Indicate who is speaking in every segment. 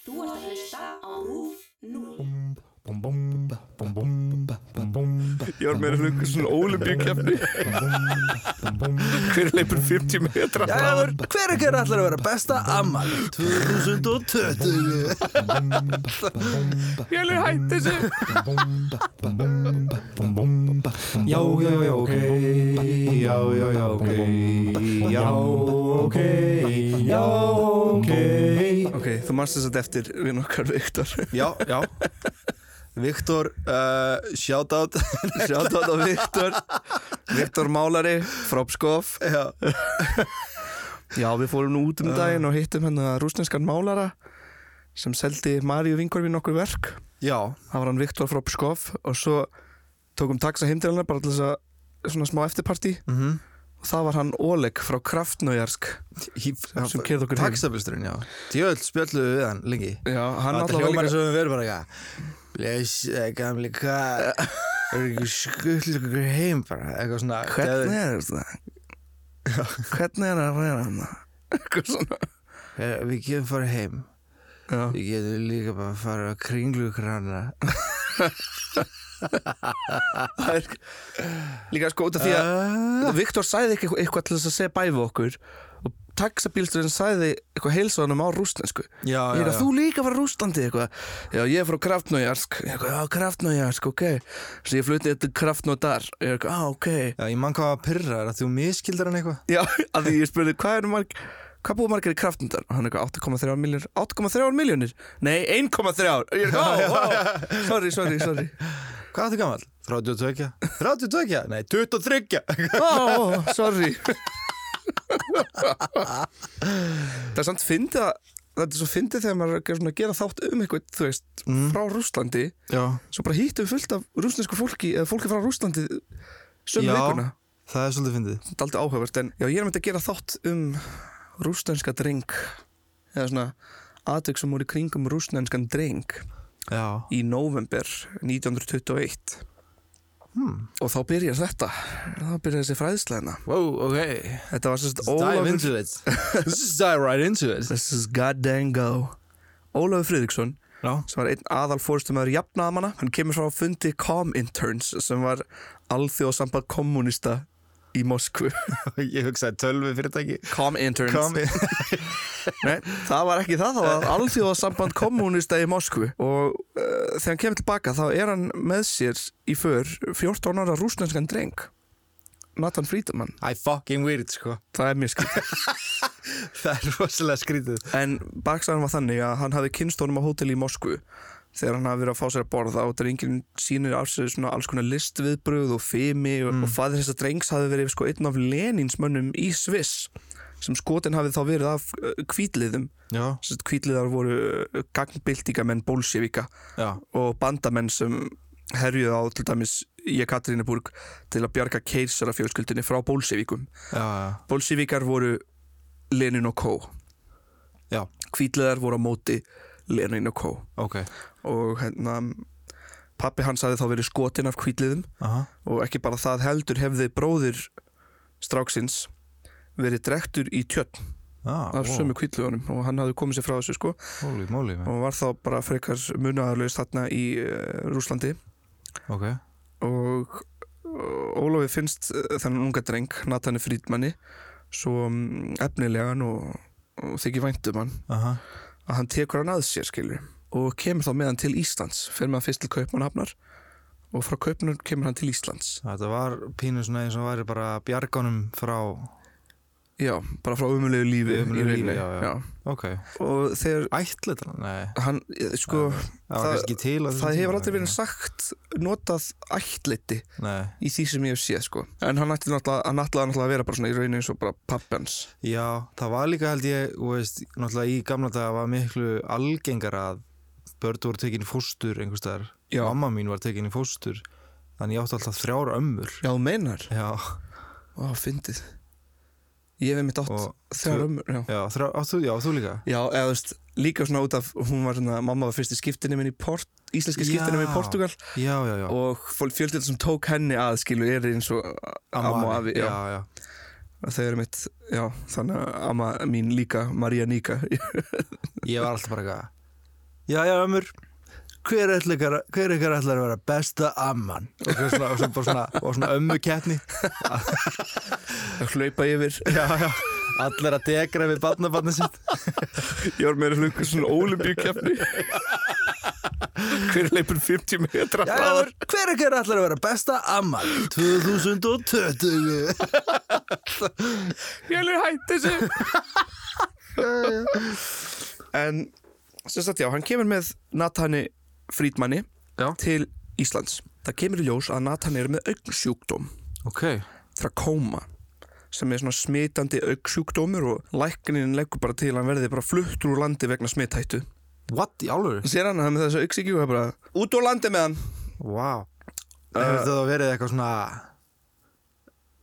Speaker 1: Þú ert að hlusta á RÚF 0.
Speaker 2: Ég var meira hlugur svona ólimpíukefni Hver leipur 50 metra
Speaker 3: Jægur, hver ekkert ætlar að vera besta ammal 2020
Speaker 2: Fjölu hætti þessu
Speaker 3: Já, já, já, ok Já, já, já, ok Já, ok Já, ok
Speaker 2: Ok, þú manst þess að eftir við nokkar Viktor
Speaker 3: Já, já
Speaker 4: Viktor, uh, shoutout Shoutout á Viktor
Speaker 2: Viktor Málari, Fropskov
Speaker 4: Já,
Speaker 2: Já, við fórum nú út um daginn og hittum hérna rúsneskan Málara sem seldi Maríu vingur við nokkur verk
Speaker 4: já,
Speaker 2: Það var hann Viktor Fropskov og svo tókum taxa heim til hennar bara til þess að svona smá eftirparti
Speaker 4: Mhm.
Speaker 2: og það var hann Oleg frá Kraftnöjarsk sem keyrði okkur heim.
Speaker 4: Taxabusturinn, já Djöld spjölluðu við hann lengi
Speaker 2: Já, hann
Speaker 4: Þetta
Speaker 2: alltaf var líka
Speaker 4: hljómar eins og við verum bara eitthvað Blessaði gamli hvað Er ekki skull ykkur heim bara Eitthvað svona
Speaker 2: Hvernig er þetta? Hvernig er það að vera hann? Eitthvað svona
Speaker 4: er Við getum farið heim
Speaker 2: Já,
Speaker 4: Við getum líka bara að fara að kringlu krana
Speaker 2: það er líka sko út af því að uh. Viktor sæði ekki eitthvað- eitthvað til þess að segja bæfi okkur og taxabílsturinn sæði eitthvað heilsaðanum á rústensku
Speaker 4: Já,
Speaker 2: Ég
Speaker 4: já,
Speaker 2: er að
Speaker 4: já.
Speaker 2: þú líka var rústandi eitthvað Já, ég er frá Kraftnójarsk Já, Kraftnójarsk, ok Svo ég flutti eitthvað Kraftnóðar Ég er eitthvað, á, ok
Speaker 4: Já, ég mann hvað að pyrra er að þú miskildar hann eitthvað
Speaker 2: Já, að því ég spurði hvað er marg Hvað búið margir í kraftundar? Og hann er eitthvað 8,3 miljónir 8,3 miljónir? Nei, 1,3 Og Ég er eitthvað, ó, ó, sorry, sorry, sorry
Speaker 4: Hvað er þetta gammal? 32 32? Nei, 23
Speaker 2: Ó, ó, sorry Það er samt fyndið að Þetta er svo fyndið þegar maður er að svona gera þátt um eitthvað, þú veist, frá Rússlandi
Speaker 4: Já,
Speaker 2: Svo bara hýttum við fullt af rússnesku fólki eða fólki frá Rússlandi sömu
Speaker 4: Já.
Speaker 2: vikuna
Speaker 4: það er svolítið fyndið
Speaker 2: Þetta er aldrei áhugavert en já, ég er með að gera þátt um rúsnenska dreng eða svona atvik sem voru í kringum rúsnenskan dreng
Speaker 4: Já,
Speaker 2: í november 1921
Speaker 4: Hmm.
Speaker 2: og þá byrjar þetta þá byrjar þessi fræðsleina
Speaker 4: Wow, ok
Speaker 2: þetta var sérst
Speaker 4: Dive
Speaker 2: Ólafur
Speaker 4: into it Let's just dive right into it
Speaker 2: this is goddamn go Ólafur Friðriksson
Speaker 4: Já,
Speaker 2: sem var einn aðal fórstumæður jafnaðamanna hann kemur frá fundi Cominterns sem var alþjóðsamband kommunista í Moskvu
Speaker 4: ég hugsaði tölvi fyrirtæki
Speaker 2: Cominterns
Speaker 4: Kom í
Speaker 2: Nei, það var ekki það, það var alþjóðasamband kommunista í Moskvu og uh, þegar hann kemur tilbaka þá er hann með sér í för 14 ára rúsnenskan dreng Nathan Friedman,
Speaker 4: I fucking weird, sko
Speaker 2: það er mjög skil
Speaker 4: Það er rosalega skrítið
Speaker 2: en baksaðan var þannig að hann hafi kynst honum á hóteli í Moskvu þegar hann hafi verið að fá sér að borða og drengin sínir af sér svona alls konar listviðbröð og fimi og, og fadir þessa drengs hafi verið sko einn af Leninsmönnum í Sviss sem skotin hafið þá verið af uh, kvítliðum
Speaker 4: Já,
Speaker 2: Sest, kvítliðar voru uh, gangbyltingamenn bolsjevika
Speaker 4: já,
Speaker 2: og bandamenn sem herjuðu á til dæmis í Katrínuburg til að bjarga keirsarafjölskyldinni frá bolsjevikum.
Speaker 4: já, já,
Speaker 2: Bolsjevikar voru Lenin og Kó.
Speaker 4: já,
Speaker 2: Kvítliðar voru á móti Lenin og Kó.
Speaker 4: ok
Speaker 2: Og hérna, pappi hans hafði þá verið skotin af kvítliðum
Speaker 4: Aha.
Speaker 2: og ekki bara það heldur hefði bróðir stráksins verið drektur í tjörn
Speaker 4: Ah,
Speaker 2: af sömu kvítliðunum og hann hafði komið sér frá þessu sko.
Speaker 4: Móli, móli,
Speaker 2: og var þá bara frekar munaðarlaus þarna í uh, Rúslandi
Speaker 4: ok
Speaker 2: og uh, Ólofi finnst uh, þennan unga dreng Natani Frídmanni svo um, efnilegan og, og þykir væntum hann
Speaker 4: Aha.
Speaker 2: að hann tekur hann að sér skilur og kemur þá með hann til Íslands fyrir með hann fyrst til Kaupmannhafnar og frá Kaupmannhafnar kemur hann til Íslands
Speaker 4: Þetta var pínu svona eins og væri bara bjarganum frá
Speaker 2: já, bara frá umulegu lífi, í
Speaker 4: Ömurlegu lífi,
Speaker 2: rauninni,
Speaker 4: já, já. Ok
Speaker 2: og þegar
Speaker 4: Ætlit Nei,
Speaker 2: hann, eh, sko
Speaker 4: það var
Speaker 2: það-
Speaker 4: kannski til á þessum
Speaker 2: það hefur
Speaker 4: tíma,
Speaker 2: aldrei verið
Speaker 4: ekki?
Speaker 2: sagt notað ættliti
Speaker 4: Nei
Speaker 2: í því sem ég hef séð sko en hann ætti náttúrulega, hann ætlaði náttúrulega að vera bara svona í raunin eins og bara pappans
Speaker 4: Já, það var líka held ég, þú veist, náttúrulega í gamla daga var miklu algengar að börn voru tekin í fóstur einhvers staðar.
Speaker 2: Já.
Speaker 4: Mamma mín var tekin í fóstur, þannig ég átti alltaf þrjár ömmur.
Speaker 2: já, þú meinar,
Speaker 4: Já,
Speaker 2: á, fyndið ég hef einmitt átt
Speaker 4: Og
Speaker 2: þegar
Speaker 4: tvö-
Speaker 2: ömmur já.
Speaker 4: já, þrjár, á, þú, já, þú líka.
Speaker 2: já, eða þú veist, líka svona út af hún var svona, mamma var fyrst í skiptinu minn í port íslenski skiptinu minn í
Speaker 4: Já.
Speaker 2: Portugal
Speaker 4: Já, já, já.
Speaker 2: og fjöldið sem tók henni að skilu er eins og amma og afi já.
Speaker 4: Já, já.
Speaker 2: þau eru mitt, já, þannig að amma mín líka María Níka
Speaker 4: Ég var alltaf bara eitthvað, já, já, ömur hver, ætli ykkar- hver ykkar ætlar að vera besta amman og svo svona, og svo bara svona, og svona ömmu keppni
Speaker 2: að hlaupa yfir
Speaker 4: já, já, allir að degra við barnabarni sitt
Speaker 2: Ég var meira hlugur svona ólimpíukefni Hver leipur 50 metra
Speaker 4: já,
Speaker 2: hraðar?
Speaker 4: ömur, hver ykkar ætlar að vera besta amman 2020
Speaker 2: Ég er hætt þessu En sem sagt já, hann kemur með Nathani Frídmanni
Speaker 4: Já.
Speaker 2: til Íslands Það kemur í ljós að Nathan er með augnsjúkdóm
Speaker 4: ok,
Speaker 2: trakóma sem er svona smitandi augsjúkdómur og læknirinn leggur bara til að hann verði bara fluttur úr landi vegna smithættu
Speaker 4: what, í alvöru
Speaker 2: Sér hann að hann með þessu augsíkju og það er bara út úr landi með hann
Speaker 4: wow hefur það verið eitthvað svona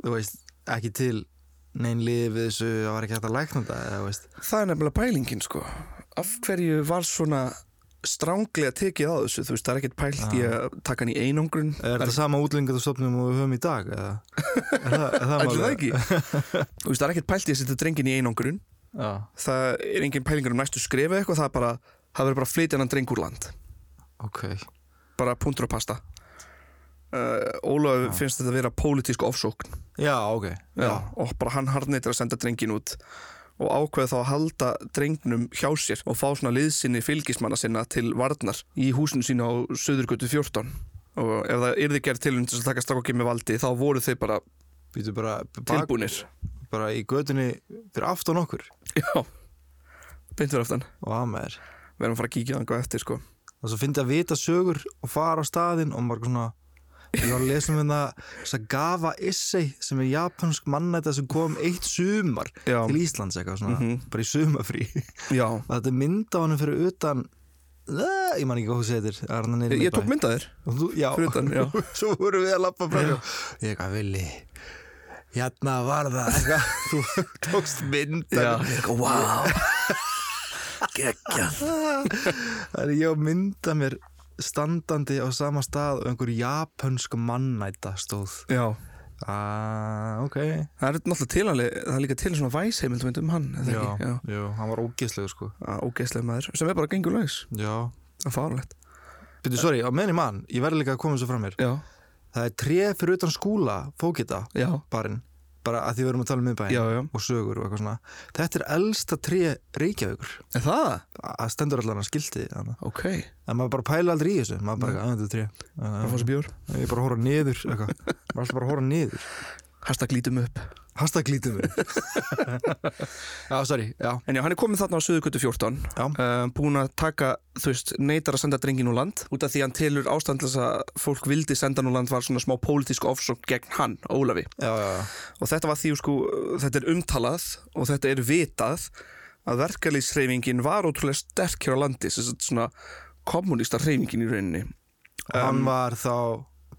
Speaker 4: þú veist, ekki til neinn lífið við þessu að var ekki hægt að lækna þetta eða, þú veist,
Speaker 2: Það er nefnilega pælingin sko Af hverju var svona stránglega tekið á þessu Þú veist, það er ekkert pælt í að taka hann í einangrun
Speaker 4: er þetta sama útlengatastofnum og við höfum í dag eða, er það, er það,
Speaker 2: Ætli það
Speaker 4: málið?
Speaker 2: ekki Þú veist, það er ekkert pælt í að setja drengin í einangrun
Speaker 4: já,
Speaker 2: Það er engin pælingur um næstu skrifa eitthvað Það er bara, það verður bara að flytja hann dreng úr land
Speaker 4: ok
Speaker 2: Bara puntur og pasta uh, Ólaf finnst þetta að vera pólitísk ofsókn
Speaker 4: Já, ok
Speaker 2: Já, og bara hann harneitir að senda drengin út og ákveð þá að halda drengnum hjá sér og fá svona liðsinni fylgismanna sinna til varnar í húsinu sínu á Suðurgötu 14 og ef það yrði gerð tilhund til að taka strákokki með valdi þá voru þau bara
Speaker 4: Býtu bara, bak,
Speaker 2: tilbúnir
Speaker 4: bara í götunni fyrir aftan okkur
Speaker 2: Já, beint fyrir aftan
Speaker 4: og að maður
Speaker 2: við erum að fara að kíkja þangar eftir sko
Speaker 4: og svo fyndi að vita sögur og fara á staðinn og maður svona ég var að lesa um þetta Sagawa Issei sem er japansk mannæta sem kom eitt sumar
Speaker 2: Já. Mhm.
Speaker 4: til Íslands eitthvað svona, bara í sumafrí
Speaker 2: Já,
Speaker 4: og þetta er mynd á hann fyrir utan Æ, ég man ekki hvað hún segir
Speaker 2: ég, ég tók mynda þér
Speaker 4: Og þú, já,
Speaker 2: Fyrir utan, já.
Speaker 4: svo vorum við að lappa fram hjá. ég eitthvað villi hérna var það eitthvað, þú tókst mynd
Speaker 2: Já.
Speaker 4: eitthvað, wow geggjað það er ég að mynda mér standandi á sama stað og einhver japansk mannæta stóð
Speaker 2: Já,
Speaker 4: ah, ok
Speaker 2: það er náttúrulega tilanlega það er líka til svona væsheimild um hann eða
Speaker 4: já,
Speaker 2: ekki? Já,
Speaker 4: já, hann var ógeðslegur sko
Speaker 2: Að ógeðslega maður sem er bara gengur laus
Speaker 4: já,
Speaker 2: að fárlegt
Speaker 4: byrju, sorry, á meðan ég mann ég verði líka að koma þessu fram mér
Speaker 2: Já,
Speaker 4: það er tré fyrir utan skúla, fókita
Speaker 2: já,
Speaker 4: barinn bara að því við erum að tala um miðbæinn
Speaker 2: já, já
Speaker 4: og sögur og eitthvað svona þetta er elsta tré Reykjavíkur
Speaker 2: Er það?
Speaker 4: að stendur allan að skilti en
Speaker 2: Ok,
Speaker 4: maður bara pæla aldrei í þessu maður bara, að þetta er tré
Speaker 2: það fór
Speaker 4: Eh,
Speaker 2: sem bjór
Speaker 4: ég bara horfa niður eitthvað. maður alltaf bara horfa niður
Speaker 2: Hashtag lítum upp
Speaker 4: hasta glítum við já, sorry, já,
Speaker 2: En já, hann er komið þarna á Suðugutu 14
Speaker 4: Já.
Speaker 2: uh, Búin að taka, þú veist, neytar að senda drengin úr land Út af því hann telur ástandlis að fólk vildi senda hann úr land Var svona smá pólitísk ofsókn gegn hann, Ólafi
Speaker 4: já, já, já.
Speaker 2: Og þetta var því, sko, þetta er umtalað Og þetta er vitað Að verkalýsreifingin var ótrúlega sterk hér á landi Þess að svona kommunista hreyfingin í rauninni Um,
Speaker 4: hann var þá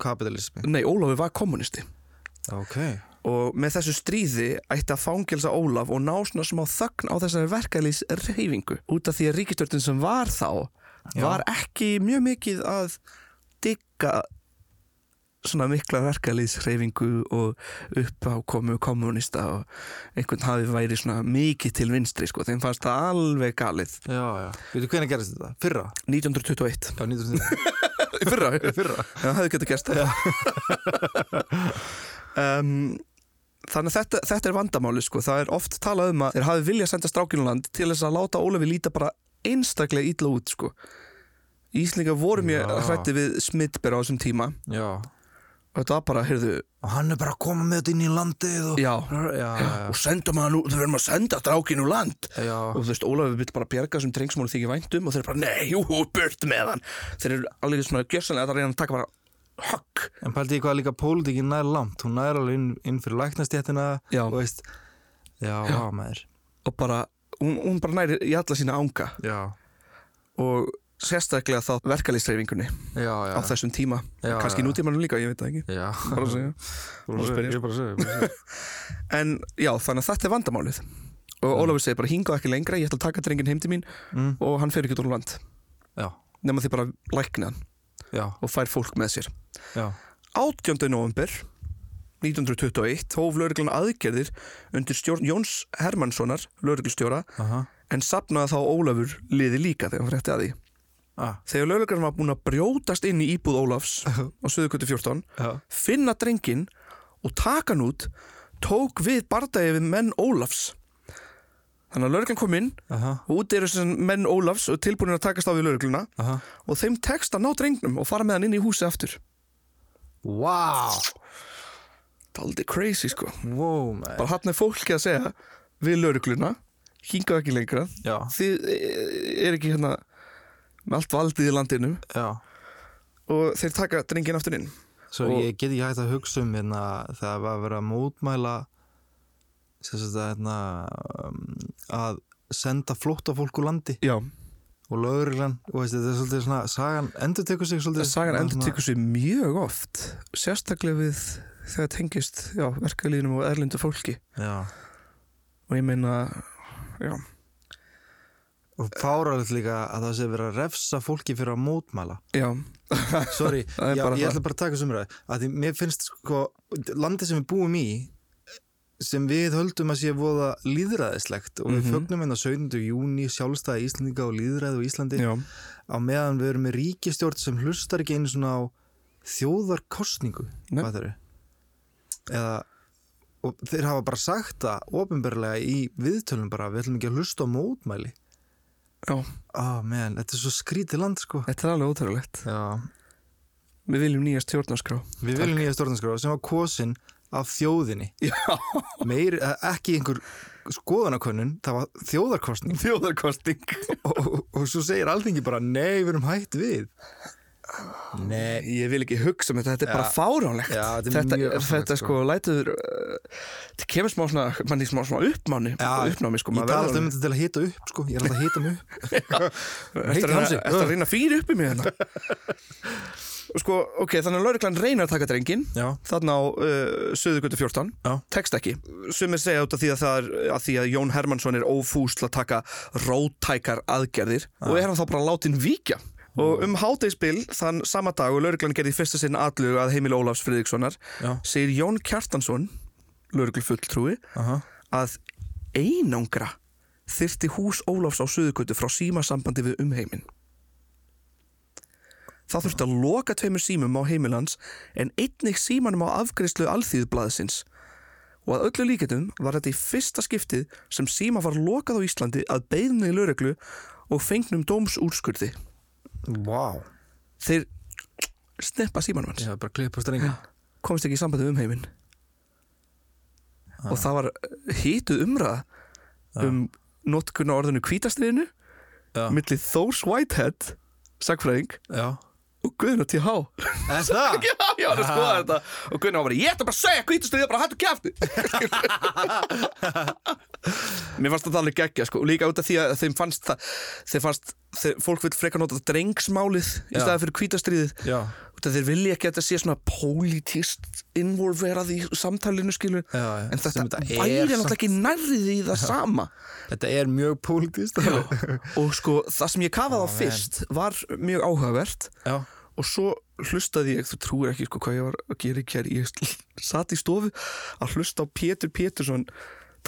Speaker 4: kapitalismi
Speaker 2: Nei, Ólafi var kommunisti
Speaker 4: ok,
Speaker 2: og með þessu stríði ætti að fangelsa Ólaf og ná svona smá þögn á þessari verkalýs reyfingu út af því að ríkistjórnin sem var þá var ekki mjög mikið að digga svona mikla verkalýs reyfingu og uppákomu kommunista og einhvern hafi væri svona mikið til vinstri sko, þeim fannst það alveg galið
Speaker 4: já, já veitu hvernig gerðist þetta? Fyrra?
Speaker 2: 1921
Speaker 4: Já, 1900
Speaker 2: Í fyrra, já,
Speaker 4: Fyrra?
Speaker 2: það hefði getið gerst um, þannig að þetta, þetta er vandamáli sko. það er oft talað um að þeir hafi viljað senda strákinuland til þess að láta Ólefi líta bara einstaklega ítla út sko. Íslingar voru mjög
Speaker 4: Já.
Speaker 2: hrætti við smittber á þessum tíma
Speaker 4: Já
Speaker 2: og þetta var bara, heyrðu,
Speaker 4: Og hann er bara að koma með þetta inn í landið og...
Speaker 2: já
Speaker 4: Já, já,
Speaker 2: og sendum hann út, þau verðum að senda strákinu land
Speaker 4: já, já.
Speaker 2: og þú veist, Ólafi byrði bara að bjarga sem drengsmónu þykir væntum og þeir eru bara, nei, jú, burt með hann þeir eru alveg svona gjörsanlega að það reyna að taka bara högg
Speaker 4: En pældi ég hvað líka pólitíkin nær langt, hún nær alveg inn, inn fyrir læknastjættina
Speaker 2: Já.
Speaker 4: og veist, já, já. maður.
Speaker 2: og bara, hún, hún bara næri í alla sína ánga
Speaker 4: Já,
Speaker 2: og sérstaklega þá verkalýstreifingunni
Speaker 4: já, já.
Speaker 2: á þessum tíma,
Speaker 4: Já,
Speaker 2: kannski
Speaker 4: já.
Speaker 2: nútímanum líka ég veit það ekki,
Speaker 4: Já,
Speaker 2: bara að segja Bara að spyrja.
Speaker 4: ég er bara að segja, ég er bara að segja.
Speaker 2: en já, þannig að þetta er vandamálið og Ólafur segir bara hingað ekki lengra, ég ætla að taka drengin heim til mín
Speaker 4: Mm.
Speaker 2: og hann fer ekki út úr land
Speaker 4: Já,
Speaker 2: nema því bara lækna hann
Speaker 4: já,
Speaker 2: og fær fólk með sér
Speaker 4: já,
Speaker 2: 18. november 1921 hóf lauruglan aðgerðir undir stjórn Jóns Hermannssonar lauruglustjóra
Speaker 4: aha,
Speaker 2: en sapnaði þá Ólafur liði líka þegar hann frétti að því
Speaker 4: Ah.
Speaker 2: Þegar löglegarinn var búin að brjótast inn í íbúð Ólafs á Suðukutu 14
Speaker 4: Já.
Speaker 2: finna drengin og taka hann út tók við bardagi við menn Ólafs Þannig að löglegarinn kom inn
Speaker 4: Aha,
Speaker 2: og úti eru sem menn Ólafs og tilbúinir að takast á við lögregluna
Speaker 4: aha.
Speaker 2: og þeim tekst að ná drengnum og fara með hann inn í húsi aftur
Speaker 4: Wow.
Speaker 2: Daldi crazy sko
Speaker 4: Wow, man.
Speaker 2: bara hann er fólki að segja við lögregluna, hingað ekki lengra
Speaker 4: Já,
Speaker 2: þið eh, er ekki hérna með allt valdið í landinu
Speaker 4: já.
Speaker 2: og þeir taka drengin aftur inn
Speaker 4: Svo
Speaker 2: Og-
Speaker 4: ég get ekki hægt að hugsa um hérna þegar var að vera að mótmæla sem sagt að hérna um, að senda flóttafólk úr landi
Speaker 2: Já,
Speaker 4: og lögurglan og veist, þetta er svolítið svona, sagan endur tekur sig svolítið
Speaker 2: sagan
Speaker 4: svona-
Speaker 2: endur tekur sér mjög oft sérstaklega við þegar tengist já, verkefliðinum og erlindu fólki
Speaker 4: Já,
Speaker 2: og ég meina já,
Speaker 4: og fáralegt líka að það sé verið að refsa fólki fyrir að mótmæla
Speaker 2: já,
Speaker 4: Sorry,
Speaker 2: Það er
Speaker 4: já,
Speaker 2: bara
Speaker 4: ég
Speaker 2: það.
Speaker 4: ætla bara að taka sumra að því mér finnst sko landið sem við búum í sem við höldum að sé voða líðræðislegt og við
Speaker 2: Mhm.
Speaker 4: fögnum hérna 17. júni sjálfstæði Íslandinga og líðræði á Íslandi
Speaker 2: já,
Speaker 4: á meðan við erum með ríkistjórn sem hlustar ekki einu svona á þjóðarkostningu
Speaker 2: Nei.
Speaker 4: fattarðu? eða og þeir hafa bara sagt það ofinberlega í viðtölum bara við ætlum ekki að hlusta á mótmæli
Speaker 2: já
Speaker 4: ah menn, þetta er svo skrítið land sko
Speaker 2: þetta er alveg ótrúlegt
Speaker 4: Já,
Speaker 2: við viljum nýja stjórnarskrá
Speaker 4: við viljum nýja stjórnarskrá sem var kosin af þjóðinni
Speaker 2: Já.
Speaker 4: Meir, eh, ekki einhver skoðanakönnun, það var þjóðarkostning
Speaker 2: þjóðarkosting
Speaker 4: og, og, og svo segir alþingi bara nei, við erum hætt við Nei,
Speaker 2: ég vil ekki hugsa um þetta, þetta er
Speaker 4: Já.
Speaker 2: bara fáránlegt
Speaker 4: Já, þetta er
Speaker 2: þetta,
Speaker 4: mjög fáránlegt,
Speaker 2: þetta
Speaker 4: sko.
Speaker 2: sko lætur uh, þetta kemur smá svona, manni smá svona uppmáni
Speaker 4: Já,
Speaker 2: uppnámi sko,
Speaker 4: Ég
Speaker 2: maður
Speaker 4: tala
Speaker 2: verður
Speaker 4: alltaf um
Speaker 2: alveg-
Speaker 4: þetta til að hita upp sko, ég er alltaf að hita mig upp
Speaker 2: Ertu
Speaker 4: Heitir
Speaker 2: að
Speaker 4: hann sig?
Speaker 2: reyna- ertu að reyna að fýra upp í mig hérna Og sko, ok, þannig að lauriklan reynar að taka drengin
Speaker 4: Já,
Speaker 2: þarna á uh, Suðugötu 14
Speaker 4: Já.
Speaker 2: tekst ekki, sumir segja út af því að það er að því að Jón Hermansson er ófús til að taka rótækar aðgerðir og er hann þá bara látin víkja og um hátegisbil þann sama dag og lauriklan gerði í fyrsta sinn atlug að heimil Ólafs Friðrikssonar
Speaker 4: Já.
Speaker 2: segir Jón Kjartansson lauriklu fulltrúi
Speaker 4: aha,
Speaker 2: að einangra þyrfti hús Ólafs á Suðukötu frá símasambandi við umheiminn. Það þurfti að loka tveimur símum á heimilans en einnig símanum á afgreyslu alþýðblaðsins og að öllu líketum var þetta í fyrsta skiptið sem síma var lokað á Íslandi að beðni í lögreglu og fengnum dómsúrskurði.
Speaker 4: wow
Speaker 2: Þeir sneppa símanum hans,
Speaker 4: Ég hef bara klipp á strengin
Speaker 2: komist ekki í sambandi við um umheiminn og það var hýtuð umræða um notkun á orðinu kvítastriðinu
Speaker 4: Já.
Speaker 2: milli Thors Whitehead sagfræðing
Speaker 4: Já,
Speaker 2: og Guðna T.H.
Speaker 4: er það?
Speaker 2: Já, ég var að skoða þetta og Guðna var bara, ég ætla bara að segja kvítastriðið er bara hættu kæfti Mér fannst þetta alveg geggja sko, og líka út af því að þeim fannst það þeim fannst, þeir, fólk vil frekar nota drengsmálið í
Speaker 4: Já.
Speaker 2: staðið fyrir kvítastriðið
Speaker 4: Já,
Speaker 2: út af þeir vilja ekki að þetta sé svona pólitist involverað í samtalinu skilur
Speaker 4: Já, já,
Speaker 2: en þetta
Speaker 4: sem þetta er
Speaker 2: væri
Speaker 4: samt.
Speaker 2: náttúrulega ekki nærrið í það sama
Speaker 4: þetta er mjög pólitist
Speaker 2: og sko það sem ég kafaði á fyrst var mjög áhugavert
Speaker 4: Já,
Speaker 2: og svo hlustaði ég, þú trúir ekki sko hvað ég var að gera í kjær, ég satt í stofu að hlusta á Pétur Pétursson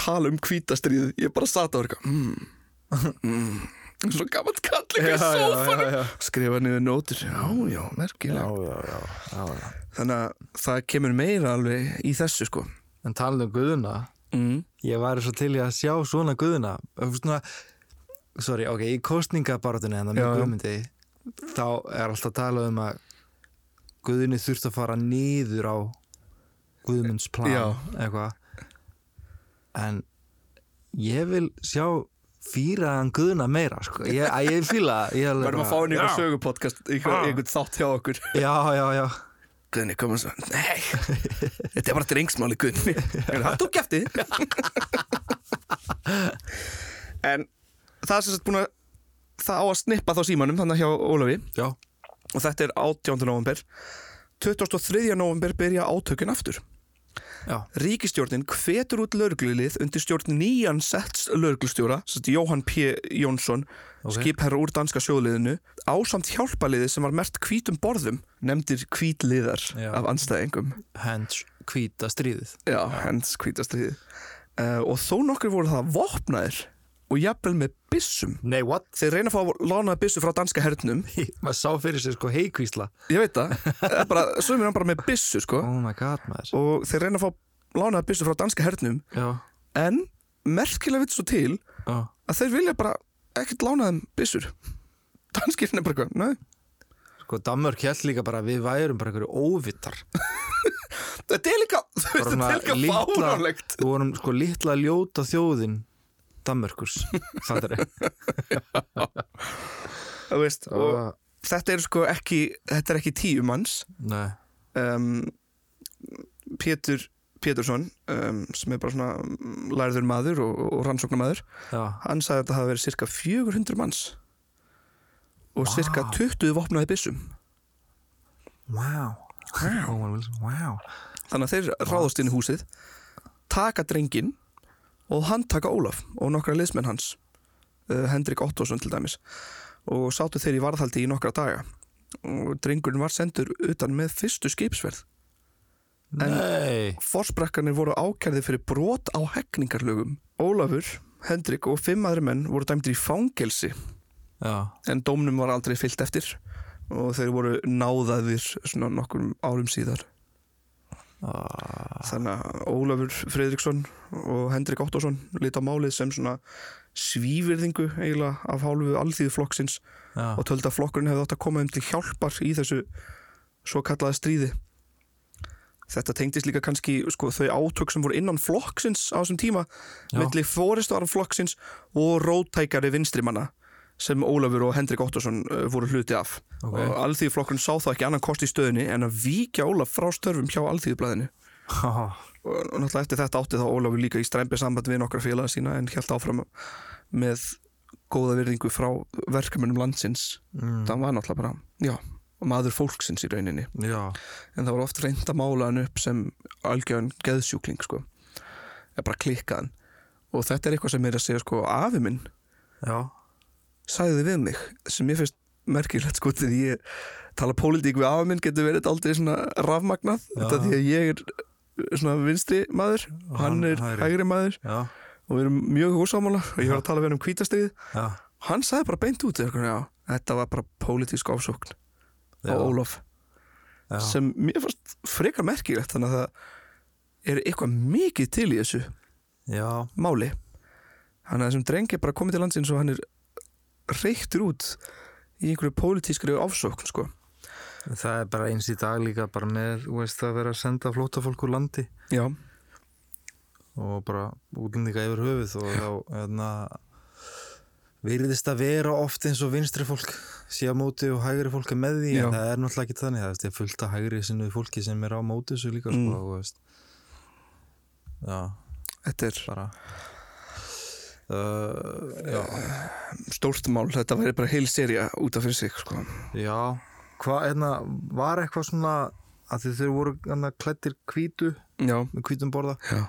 Speaker 2: tala um kvítastriðið ég bara satt á verka mm, mm, svo gammalt kall eitthvað í
Speaker 4: Já, já, já,
Speaker 2: sófanum
Speaker 4: já.
Speaker 2: skrifa niður nótur, já, já, merkilega
Speaker 4: já, já, já, já.
Speaker 2: þannig að það kemur meira alveg í þessu sko
Speaker 4: En talandi um guðuna
Speaker 2: mm.
Speaker 4: Ég væri svo til í að sjá svona guðuna Þú veist svona Sorry, ok, í kostningabaratunni
Speaker 2: Já,
Speaker 4: en það með
Speaker 2: já.
Speaker 4: guðmyndi Þá er alltaf talað um að Guðinni þurft að fara niður á Guðmunds plan
Speaker 2: Já.
Speaker 4: Eitthvað En ég vil sjá Fýraðan guðuna meira sko. ég, að ég fýla
Speaker 2: verðum að fá henni ykkur sögupodcast ykkur,
Speaker 4: Ah.
Speaker 2: ykkur þátt hjá okkur
Speaker 4: Já, já, já
Speaker 2: Guðni kom og svo, nei þetta er bara drengsmáli Guðni hann tók kæfti en það er sem sagt búin að það á að snippa þá símanum þannig hjá Ólafi
Speaker 4: Já,
Speaker 2: og þetta er 18. november 23. november byrja átökin aftur
Speaker 4: já,
Speaker 2: Ríkistjórnin hvetur út lörglilið undir stjórn nýjan setts lörglustjóra, sérst Jóhann P. Jónsson,
Speaker 4: Ok.
Speaker 2: skipherra úr danska sjóðliðinu, ásamt hjálpaliði sem var mert hvítum borðum, nefndir hvítliðar
Speaker 4: Já.
Speaker 2: af anstæðingum.
Speaker 4: hens hvíta stríðið
Speaker 2: Eh, Já, hens hvítastriði. Uh, og þó nokkur voru það vopnaðir og jafnvel með byssum
Speaker 4: Nei, what?
Speaker 2: þeir reyna að fá lánaða byssu frá danska hernum
Speaker 4: Maður sá fyrir sér sko heikvísla
Speaker 2: ég veit það, það er bara, sumir hann bara með byssu sko.
Speaker 4: Oh my god, maður
Speaker 2: og þeir reyna að fá lánaða byssu frá danska hernum
Speaker 4: Já,
Speaker 2: en merkilega vitt svo til
Speaker 4: já
Speaker 2: að þeir vilja bara ekkert lána þeim byssur danskirinn er bara eitthvað, nei
Speaker 4: Sko, Danmörk held líka bara að við værum bara einhverju óvittar
Speaker 2: þetta er líka, þú veist, þetta er líka fáránlegt
Speaker 4: Við vorum sko litla ljóta þjóðin Danmörkurs Það er
Speaker 2: þú veist, og
Speaker 4: Ah.
Speaker 2: þetta er sko ekki þetta er ekki tíu manns
Speaker 4: Nei
Speaker 2: um, Pétur Pétursson um, sem er bara svona mm, lærður maður og, og rannsóknamaður
Speaker 4: Já,
Speaker 2: hann sagði að þetta hafi verið cirka 400 manns og cirka 20 vopnaði byssum
Speaker 4: wow Wow, wow.
Speaker 2: þannig að þeir ráðast inn í húsið taka drengin og hann taka Ólaf og nokkra liðsmenn hans uh, Hendrik Ottosson til dæmis og sátu þeir í varðhaldi í nokkra daga og drengurinn var sendur utan með fyrstu skipsverð
Speaker 4: Nei
Speaker 2: Forsbrekkanir voru ákærði fyrir brot á hegningarlögum. Ólafur, Hendrik og fimm aðri menn voru dæmdir í fangelsi
Speaker 4: Já,
Speaker 2: en dómnum var aldrei fyllt eftir og þeir voru náðaðir svona nokkrum árum síðar. Þannig að Ólafur Fredriksson og Hendrik Ottosson lita málið sem svona svívirðingu eiginlega af hálfu alþýðuflokksins
Speaker 4: já
Speaker 2: og tölda flokkurinn hefði átt að koma um til hjálpar í þessu svo kallaða stríði þetta tengdist líka kannski sko, þau átök sem voru innan flokksins á þessum tíma
Speaker 4: Já.
Speaker 2: milli fóristuðar flokksins og rótækari vinstrimanna sem Ólafur og Hendrik Ottosson uh, voru hluti af
Speaker 4: Ok.
Speaker 2: og alþýðflokkurinn sá það ekki annan kost í stöðunni en að víkja Ólaf frá störfum hjá alþýðublaðinu
Speaker 4: Ha,
Speaker 2: og og náttúrulega eftir þetta átti þá Ólafur líka í strempi samband við nokkra félaga sína en held áfram með góða virðingu frá verkefnum landsins mm. það var náttúrulega bara, já maður fólksins í rauninni
Speaker 4: Já,
Speaker 2: en það var oft reynd að mála hann upp sem algjörn geðsjúkling sko eða bara klikka hann og þetta er eitthvað sem er að segja sko afi minn
Speaker 4: já
Speaker 2: sagði við mig sem ég finnst merkilegt sko þegar ég tala pólitík við afa minn getur verið aldrei svona rafmagnað þetta því að ég er eh, svona vinstri maður og hann
Speaker 4: hann
Speaker 2: er
Speaker 4: hægri.
Speaker 2: hægri. maður
Speaker 4: Já,
Speaker 2: og við erum mjög húsámála og ég var að tala við hann um kvítastegið
Speaker 4: já,
Speaker 2: hann sagði bara beint út eitthvað, já, þetta var bara pólitísk ásókn á
Speaker 4: Já.
Speaker 2: Ólaf
Speaker 4: Já.
Speaker 2: sem mér fannst frekar merkilegt þannig að það er eitthvað mikið til í þessu
Speaker 4: já,
Speaker 2: máli hann að þessum drengi bara komið til landsins og hann er reyktur út í einhverju pólitískri ásókn sko.
Speaker 4: það er bara eins í dag líka bara með, þú veist, að vera að senda flótafólk úr landi
Speaker 2: já,
Speaker 4: og bara útlendinga yfir höfuð og þá, hérna virðist að vera oft eins og vinstri fólk sé á móti og hægri fólk er með því
Speaker 2: Já.
Speaker 4: en það er náttúrulega ekki þannig, það er fullt af hægri sinnu fólki sem er á móti þessu líka,
Speaker 2: Mm.
Speaker 4: sko, þú veist Já,
Speaker 2: þetta er
Speaker 4: bara uh, Já,
Speaker 2: stórt mál þetta væri bara heil serja út af fyrir sig sko.
Speaker 4: Já, hvað, hérna, var eitthvað svona að þið þeir voru hérna, klættir hvítu
Speaker 2: já,
Speaker 4: með hvítum borða
Speaker 2: já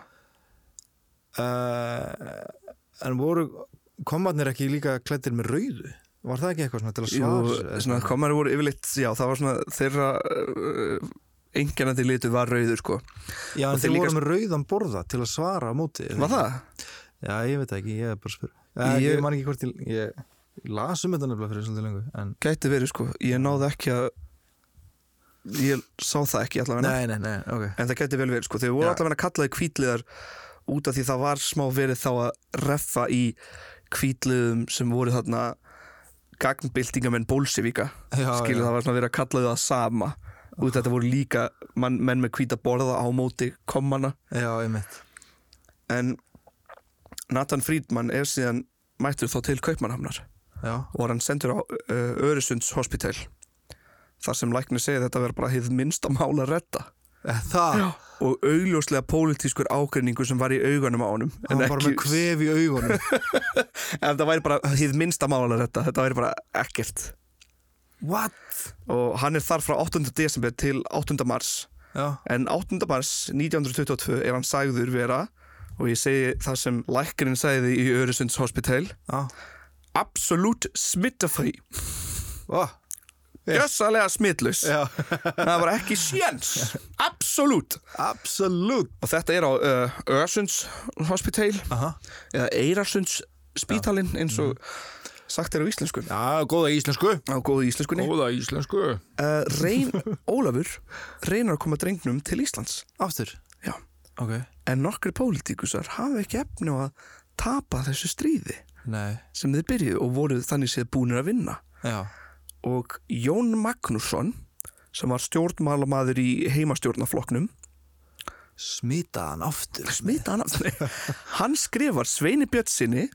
Speaker 4: uh, en voru komarnir ekki líka klættir með rauðu? Var það ekki eitthvað svona til að svara?
Speaker 2: Jú, svona, komari voru yfirleitt, já, það var svona þeirra uh, engjannandi litu var rauður, sko.
Speaker 4: já,
Speaker 2: og
Speaker 4: en
Speaker 2: þeir
Speaker 4: þeir
Speaker 2: líka-
Speaker 4: voru með rauðan borða til að svara á móti. eða
Speaker 2: Var
Speaker 4: ekki?
Speaker 2: það?
Speaker 4: Já, ég veit það ekki, ég er bara að spyrja. Ég,
Speaker 2: Ég-
Speaker 4: ég man ekki hvort ég, ég, ég las um þetta nefnilega fyrir svolítið lengur. En...
Speaker 2: Gæti verið, sko. Ég náði ekki að, ég sá það ekki allavega.
Speaker 4: Nei, nei, nei, ok.
Speaker 2: En það gæti vel verið, sko. Þeir voru
Speaker 4: Já.
Speaker 2: allavega kallaði kvítliðar út af því það var smá verið þá að reffa í kvítliðum sem voru þarna gagnbyltingamenn bólsevíka.
Speaker 4: Já,
Speaker 2: Skilur
Speaker 4: já.
Speaker 2: það var svona verið að kallaði það sama. Út af þetta voru líka mann, menn með hvíta borða á móti kommana.
Speaker 4: Já, ég mitt.
Speaker 2: en Nathan Friedman er síðan mættur þá til Kaupmannhamnar
Speaker 4: Já,
Speaker 2: og var hann sendur á uh, Öresunds hospital þar sem læknir segir þetta verður bara hið minnsta mál að redda
Speaker 4: Eh, það,
Speaker 2: Ah, og augljóslega pólitískur ágreiningu sem var í augunum á honum
Speaker 4: hann
Speaker 2: en
Speaker 4: var bara með
Speaker 2: ekki,
Speaker 4: kvef í augunum.
Speaker 2: en það væri bara hið minnsta mál að redda þetta væri bara ekkert
Speaker 4: What?
Speaker 2: og hann er þar frá 8. desember til 8. mars
Speaker 4: Já,
Speaker 2: en 8. mars 1922 er hann sagður vera og ég segi það sem læknirinn sagði í Öresunds hospital
Speaker 4: já.
Speaker 2: absolutt smittafrí
Speaker 4: Oh,
Speaker 2: gjössalega smittlus
Speaker 4: já,
Speaker 2: það var ekki sjens absolutt
Speaker 4: absolutt
Speaker 2: og þetta er á uh, Ösunds Hospital
Speaker 4: Aha,
Speaker 2: eða Eirasunds spítalinn eins og sagt er á íslensku
Speaker 3: Já, góða íslensku
Speaker 2: á góðu íslenskunni
Speaker 3: Góða íslensku
Speaker 2: uh, Reyn Ólafur reynar að koma drengnum til Íslands
Speaker 4: Aftur
Speaker 2: Já.
Speaker 4: Ok
Speaker 2: en nokkri pólitíkusar hafa ekki efni á að tapa þessu stríði
Speaker 4: Nei
Speaker 2: sem þeir byrjuðu og voru þannig séð búnir að vinna
Speaker 4: Já
Speaker 2: og Jón Magnússon sem var stjórnmálamaður í heimastjórnaflokknum
Speaker 4: Smitaði hann aftur
Speaker 2: smita hann af hann skrifar Sveini Björnsinni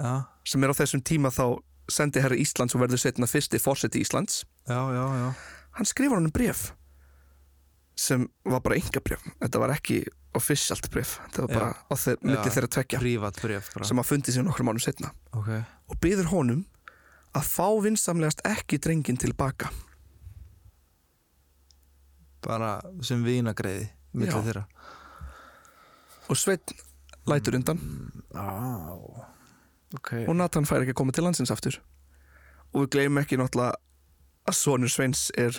Speaker 4: Já
Speaker 2: sem er á þessum tíma þá sendi herra Íslands og verður setna fyrsti fórseti Íslands
Speaker 4: Já, já, já
Speaker 2: hann skrifar hann bref sem var bara enga bref þetta var ekki officialt bref þetta var bara
Speaker 4: Já.
Speaker 2: á þeir, milli
Speaker 4: Já.
Speaker 2: þeirra tvekja
Speaker 4: Prívat bref bara
Speaker 2: sem að fundi sér nokkrum mánum setna
Speaker 4: Ok
Speaker 2: og byður honum að fá vinsamlegast ekki drengin tilbaka
Speaker 4: Bara sem vinagreiði Millir
Speaker 2: Já.
Speaker 4: þeirra
Speaker 2: og Sveinn lætur undan
Speaker 4: Mm, Á Ok
Speaker 2: og Nathan fær ekki að koma til landsins aftur og við gleymum ekki náttúrulega að sonur Sveins er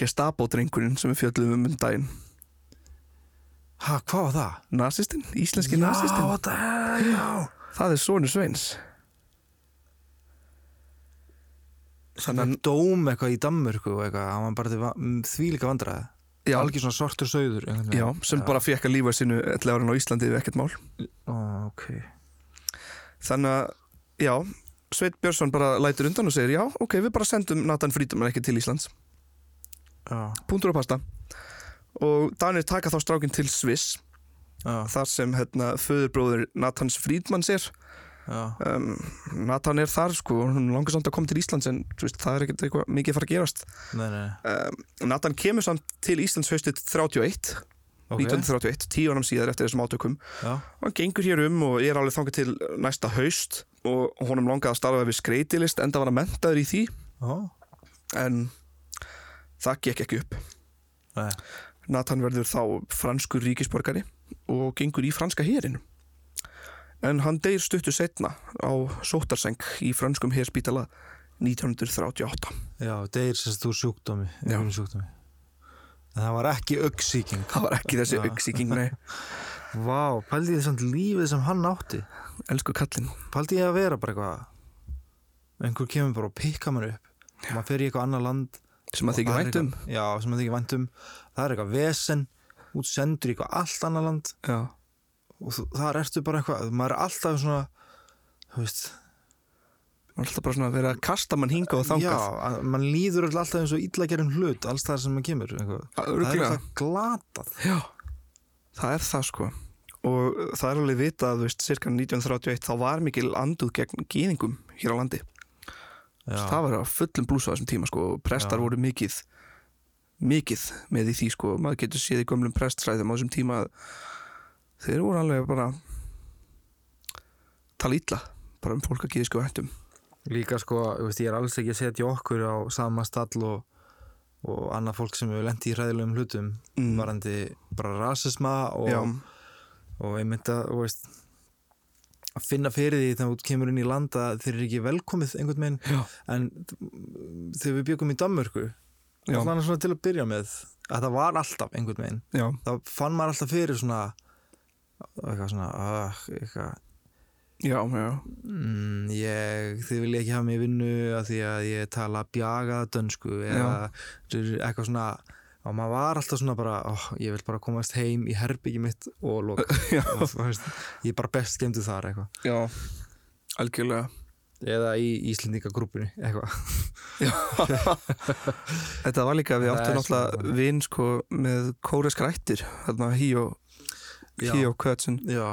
Speaker 2: gestapo-drengurinn sem við fjöllum um um daginn
Speaker 4: Ha, hvað var það?
Speaker 2: nazistinn, íslenski nazistinn
Speaker 4: þetta er, já
Speaker 2: það er sonur Sveins þannig
Speaker 4: Þannig að dóm eitthvað í Danmörku og eitthvað Hann var bara til va- m, þvílíka vandræði
Speaker 2: að já,
Speaker 4: Algjör svona svartur söður
Speaker 2: já, sem bara fekk að lífa sinu 11 árin á Íslandi við ekkert mál
Speaker 4: Ó, ok
Speaker 2: þannig að já, Sveit Björnsson bara lætur undan og segir já, ok, við bara sendum Nathan Frídumann ekki til Íslands
Speaker 4: Já,
Speaker 2: punktur og pasta og Danir taka þá strákinn til Sviss
Speaker 4: já,
Speaker 2: þar sem hérna, föðurbróður Nathans Frídmanns er
Speaker 4: já
Speaker 2: um, Nathan er þar sko og hún langar samt að koma til Íslands en þú veist, það er ekkert eitthvað mikið að fara að gerast
Speaker 4: Nei, nei, nei.
Speaker 2: um, Nathan kemur samt til Íslands haustið 31
Speaker 4: Ok.
Speaker 2: 1931, tíu ánum síðar eftir þessum átökum
Speaker 4: Já,
Speaker 2: og hann gengur hér um og er alveg þangað til næsta haust og honum langaði að starfa við skreitilist enda var hann mentaður í því
Speaker 4: já,
Speaker 2: en það gekk ekki upp
Speaker 4: nei
Speaker 2: Nathan verður þá franskur ríkisborgari og gengur í franska hérinu. En hann deyr stuttu setna á sótarseng í franskum hérspítala 1938.
Speaker 4: Já, deyr sérst þú sjúkdómi
Speaker 2: Já.
Speaker 4: einhverjum sjúkdómi En það var ekki auksíking
Speaker 2: Það var ekki þessi auksíking, nei,
Speaker 4: Vá, pældi ég samt lífið sem hann átti
Speaker 2: elsku kallinn.
Speaker 4: Pældi ég að vera bara eitthvað Einhver kemur bara og pikka mér upp og maður fer í eitthvað annað land
Speaker 2: Sem að
Speaker 4: og
Speaker 2: þykir
Speaker 4: það er
Speaker 2: vænt um.
Speaker 4: eitthvað- Já, sem að þykir væntum Það er eitthvað vesen út sendur í eitthvað allt annað land
Speaker 2: Já.
Speaker 4: og þú- þar ertu bara eitthvað maður er alltaf svona þú veist
Speaker 2: Það er alltaf bara svona að vera að kasta mann hinga og
Speaker 4: Já,
Speaker 2: þangað.
Speaker 4: að, mann líður öll alltaf eins og illa gerum hlut alls þar sem maður kemur eitthvað.
Speaker 2: Já,
Speaker 4: Það er
Speaker 2: örugglega.
Speaker 4: alltaf glatað
Speaker 2: Já, það er það sko. Og það er alveg vitað, þú veist, cirka 1931 þá var mikil anduð gegn gýðingum hér á landi.
Speaker 4: Já,
Speaker 2: það var á fullum blús á þessum tíma sko, og prestar voru mikið mikið með í því sko. maður getur séð í gömlum prestræðum á þessum tíma að þeir voru alveg bara tala ítla bara um fólk að geða sko hættum
Speaker 4: Líka sko, þú veist, ég er alls ekki að setja okkur á sama stall og, og annað fólk sem hefur lent í hræðilegum hlutum
Speaker 2: Mm.
Speaker 4: varandi bara rasisma
Speaker 2: já,
Speaker 4: og, og einmitt að, þú veist að finna fyrir því þegar þú kemur inn í landa þeir eru ekki velkomið einhvern veginn
Speaker 2: já,
Speaker 4: en þegar við byggum í Danmörku
Speaker 2: Já.
Speaker 4: allan svona til að byrja með að það var alltaf einhvern veginn
Speaker 2: já,
Speaker 4: þá fann maður alltaf fyrir svona eitthvað svona uh, eitthvað,
Speaker 2: já, já.
Speaker 4: mm, ég, þið vilja ekki hafa mig í vinnu af því að ég tala bjagaða dönsku eða eitthvað svona og maður var alltaf svona bara oh, ég vil bara komast heim í herbyggi mitt og loka
Speaker 2: Já.
Speaker 4: Og þú veist, ég er bara best gemdu þar eitthvað
Speaker 2: já. algjörlega
Speaker 4: eða í Íslendingagrúpunni eitthvað
Speaker 2: þetta var líka, við
Speaker 4: Það
Speaker 2: áttum
Speaker 4: er svona
Speaker 2: náttúrulega
Speaker 4: þannig.
Speaker 2: vinn sko með kóresk rættir þarna Híó
Speaker 4: Já.
Speaker 2: Híó Kötsun
Speaker 4: já,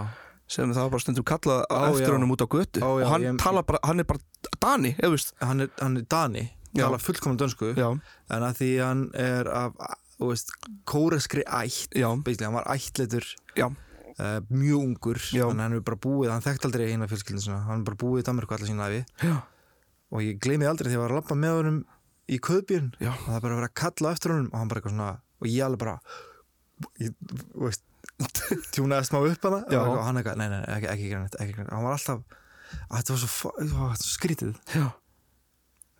Speaker 2: sem það var bara stundum kallað
Speaker 4: Ó,
Speaker 2: eftir
Speaker 4: já.
Speaker 2: honum út á götu
Speaker 4: Ó, já,
Speaker 2: og hann,
Speaker 4: ég-
Speaker 2: talar bara, hann er bara Dani, eða veist
Speaker 4: hann er, hann er Dani
Speaker 2: Já.
Speaker 4: tala fullkomna dönsku
Speaker 2: já,
Speaker 4: en að því hann er af þú veist, kóreskri ætt
Speaker 2: já,
Speaker 4: basically, hann var ættleitur
Speaker 2: já
Speaker 4: uh, mjög ungur
Speaker 2: Já.
Speaker 4: þannig að hann er bara búið, hann þekkt aldrei eina fjölskyldin sinna, hann er bara búið í Danmarku allar sína æfi
Speaker 2: Já.
Speaker 4: og ég gleymi aldrei þegar ég var að labba með honum í köðbjörn
Speaker 2: Já.
Speaker 4: og það er bara að vera að kalla á eftir honum og hann bara eitthvað svona, og ég alveg bara ég, þú veist tjúnaði smá upp hana
Speaker 2: Já.
Speaker 4: og hann eitthvað, nei, nei, nei, ekki, ekki grann ekki grann, hann var alltaf að þetta var svo, fa- ó, þetta var svo skrítið
Speaker 2: Já.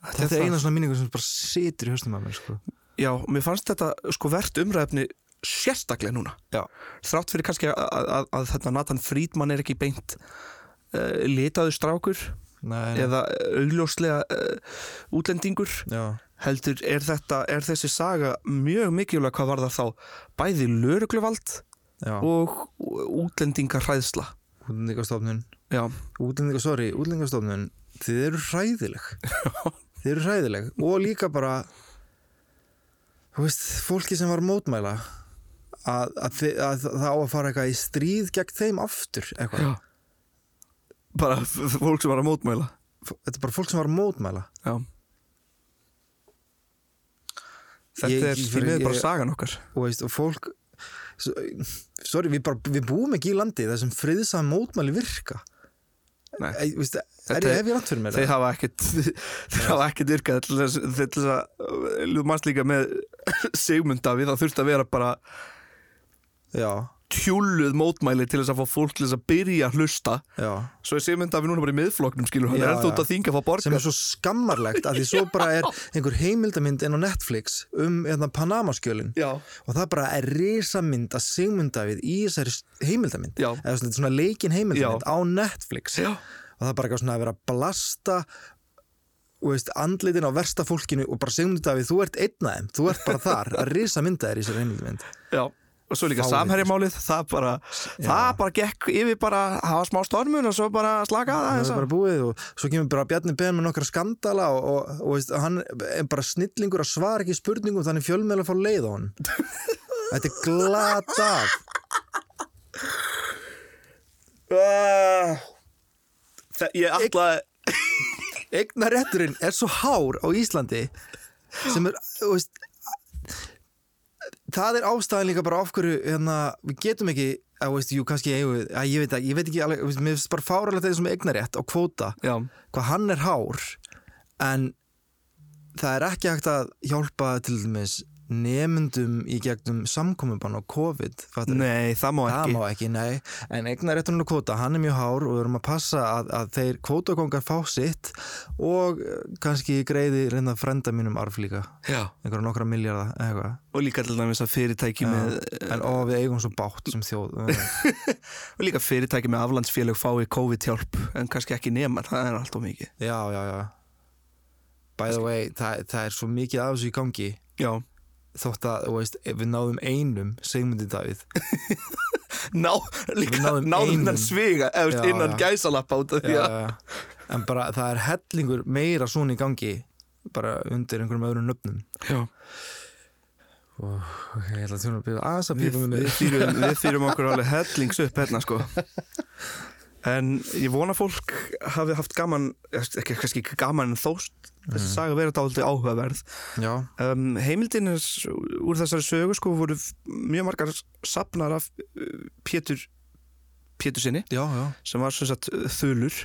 Speaker 4: þetta,
Speaker 2: er
Speaker 4: er
Speaker 2: það.
Speaker 4: eina svona minningur sem bara situr í höstum að mér sko.
Speaker 2: Já, mér fannst þetta sko verðt umræðefni sérstaklega núna.
Speaker 4: Já.
Speaker 2: Þrátt fyrir kannski að, að, að þetta Nathan Friedman er ekki beint uh, litaðu strákur
Speaker 4: Nei, nei.
Speaker 2: eða eh, augljóslega uh, útlendingur
Speaker 4: Já,
Speaker 2: heldur er, þetta, er þessi saga mjög mikilvæg hvað var það þá bæði lögregluvald
Speaker 4: já.
Speaker 2: og útlendingar hræðsla
Speaker 4: Útlendingastofnun
Speaker 2: já,
Speaker 4: Útlendinga, sorry, útlendingastofnun Þið eru hræðileg Þið eru hræðileg Og líka bara Þú veist, fólki sem var að mótmæla að, að, þi- að það á að fara eitthvað í stríð gegn þeim aftur eitthvað.
Speaker 2: Já. bara f- f- fólk sem var að mótmæla
Speaker 4: F- Þetta er bara fólk sem var að mótmæla
Speaker 2: já þetta
Speaker 4: Ég-
Speaker 2: er
Speaker 4: ég-
Speaker 2: því miður
Speaker 4: ég-
Speaker 2: bara sagan okkar
Speaker 4: og, veist, og fólk s- Sorry, við, bara, við búum ekki í landi þar sem friðsam mótmæli virka
Speaker 2: Nei.
Speaker 4: Ei, veist, Er
Speaker 2: Þetta
Speaker 4: ég
Speaker 2: er-
Speaker 4: hef ég langt fyrir mér?
Speaker 2: þeir hafa ekkert þeir hafa ekkert virkað til þess, til þess að ljóð manns líka með segmunda við það þurfti að vera bara
Speaker 4: Já,
Speaker 2: tjúluð mótmæli til þess að fá fólk til þess að byrja að hlusta
Speaker 4: já
Speaker 2: Svo er Sigmund Davíð núna bara í miðfloknum skilur hann
Speaker 4: Já,
Speaker 2: er ennþá út
Speaker 4: já.
Speaker 2: að þinga að fá borga
Speaker 4: sem er svo skammarlegt að því svo bara er einhver heimildamind inn á Netflix um hérna, Panamaskjölin
Speaker 2: Já,
Speaker 4: og það bara er risamynd að Sigmundavið í þessari s- heimildamind
Speaker 2: Já.
Speaker 4: eða svona, svona leikin
Speaker 2: Já.
Speaker 4: heimildamind á Netflix
Speaker 2: Já.
Speaker 4: og það er bara eitthvað svona að vera að blasta og veist, andlitin á versta fólkinu og bara Sigmundavið, þú ert einn af þeim þú ert bara þar að risamynda þér í þessari heimildamind
Speaker 2: já Og svo líka
Speaker 4: Fáið.
Speaker 2: samherjamálið, það bara það bara gekk yfir bara hafa smá stormun og svo bara slaka það
Speaker 4: það
Speaker 2: þess
Speaker 4: er bara búið og svo kemur bara Bjarni Ben með nokkra skandala og, og, og veist, hann er bara snillingur að svara ekki spurningum þannig fjölmeðlega fá leið á hann þetta er glatað
Speaker 2: að Uh, Það, ég ætla
Speaker 4: eignarétturinn er svo hár á Íslandi sem er þú veist, það er ástæðan líka bara af hverju hérna, við getum ekki að, veist, jú, kannski, eigum við, að, ég veit ekki, ég veit ekki alveg, þú veist, mér finnst bara fáralegt þeir sem er eignarétt á kvóta
Speaker 2: Já,
Speaker 4: hvað hann er hár en það er ekki hægt að hjálpa til dæmis nefndum í gegnum samkomubann á COVID fattarðu?
Speaker 2: nei, það má
Speaker 4: það
Speaker 2: ekki
Speaker 4: má ekki, nei en eignaréttunum og kvóta, hann er mjög hár og við erum að passa að, að þeir kvótakongar fá sitt og eh, kannski greiði reynda frenda mínum arf líka
Speaker 2: Já.
Speaker 4: einhverja nokkra miljarda eða eitthvað
Speaker 2: Og líka til dæmis að fyrirtæki með eh,
Speaker 4: en ó, við eigum svo bátt sem þjóð Eh,
Speaker 2: og líka fyrirtæki með aflandsfélag fái COVID-hjálp en kannski ekki nema, það er allt og mikið
Speaker 4: já, já, já by the way, það, það er svo mikið af þessu í gangi
Speaker 2: Já,
Speaker 4: þótt að, þú veist, ef við náðum einum Sigmundi Davíð
Speaker 2: Ná, líka,
Speaker 4: náðum
Speaker 2: náðum
Speaker 4: einum.
Speaker 2: þennan sviga
Speaker 4: Já,
Speaker 2: eftir innan
Speaker 4: já.
Speaker 2: gæsalappa út af því að
Speaker 4: Já. en bara það er hellingur meira svona í gangi bara undir einhverjum öðrum nöfnum
Speaker 2: Já.
Speaker 4: og ok, ég ætla að tjóna að byrja aðeins að
Speaker 2: við,
Speaker 4: byrja með
Speaker 2: við, fyrir, við fyrir okkur alveg hellings upp hérna sko en ég vona fólk hafi haft gaman ekki kannski ekki gaman en þóst þessi saga verið dálítið áhugaverð
Speaker 4: já,
Speaker 2: um, heimildin er, s- úr þessari sögu sko voru f- mjög margar sapnar af uh, Pétur Pétur sinni
Speaker 4: já, já,
Speaker 2: sem var sem sagt eh, þulur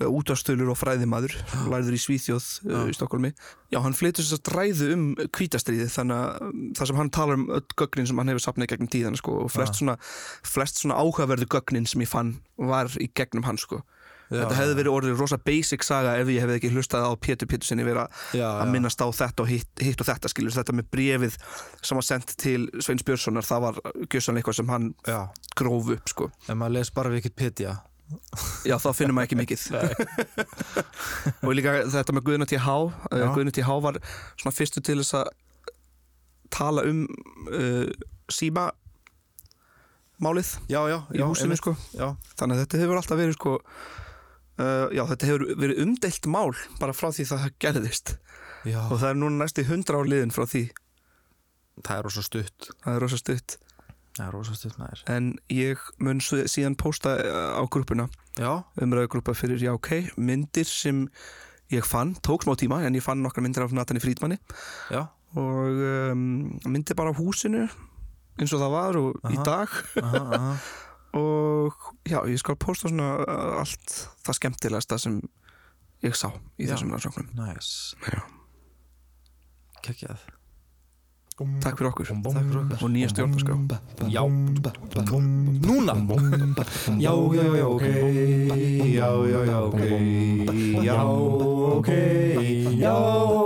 Speaker 2: útastölur og fræðimaður lærður í Svíþjóð uh, í Stokkólmi Já, hann flytur þess að ræðu um kvítastriðið þannig að um, það sem hann talar um öll gögnin sem hann hefur sapnað í gegnum tíðana sko, og flest svona, flest svona áhugaverðu gögnin sem ég fann var í gegnum hann sko.
Speaker 4: Já,
Speaker 2: Þetta hefði verið orðið rosa basic saga ef ég hefði ekki hlustað á Pétur Pétur sinni vera
Speaker 4: Já,
Speaker 2: að
Speaker 4: já.
Speaker 2: minnast á þetta og hitt, hitt og þetta skilur þetta með brefið sem var sendt til Sveins Björnssonar það var gjössanlega eitthvað sem hann
Speaker 4: já
Speaker 2: gróf upp sko.
Speaker 4: ef maður les bara við ekkert Petja
Speaker 2: Já, þá finnum maður ekki mikið Og líka þetta með Guðna T.H.
Speaker 4: Já.
Speaker 2: Guðna T.H. var svona fyrstu til þess að tala um uh, síma málið
Speaker 4: já, já,
Speaker 2: í húsinu
Speaker 4: einmitt.
Speaker 2: sko
Speaker 4: já,
Speaker 2: Þannig að þetta hefur alltaf verið sko uh, Já, þetta hefur verið umdeilt mál bara frá því það gerðist
Speaker 4: já,
Speaker 2: og það er núna næstu hundra ár liðin frá því
Speaker 4: það er rosa stutt
Speaker 2: það er rosa stutt
Speaker 4: það er rosa stutt maður
Speaker 2: en ég mun svo- síðan pósta uh, á grúpuna
Speaker 4: já,
Speaker 2: umræðugrúpa fyrir Já OK myndir sem ég fann, tók smá tíma en ég fann nokkar myndir af Natani Frídmanni
Speaker 4: já,
Speaker 2: og um, myndir bara af húsinu eins og það var og í
Speaker 4: Aha.
Speaker 2: dag
Speaker 4: aha, aha
Speaker 2: og já, ég skal posta svona uh, allt það skemmtilegasta sem ég sá í
Speaker 4: Já.
Speaker 2: þessum rannsóknum
Speaker 4: næs,
Speaker 2: Já.
Speaker 4: kekkjað
Speaker 2: Takk fyrir okkur
Speaker 4: takk fyrir okkur
Speaker 2: og nýja stjórnarskrá
Speaker 3: Já
Speaker 4: núna
Speaker 3: Já, já, já, ok Já, já, já, ok Já, ok Já,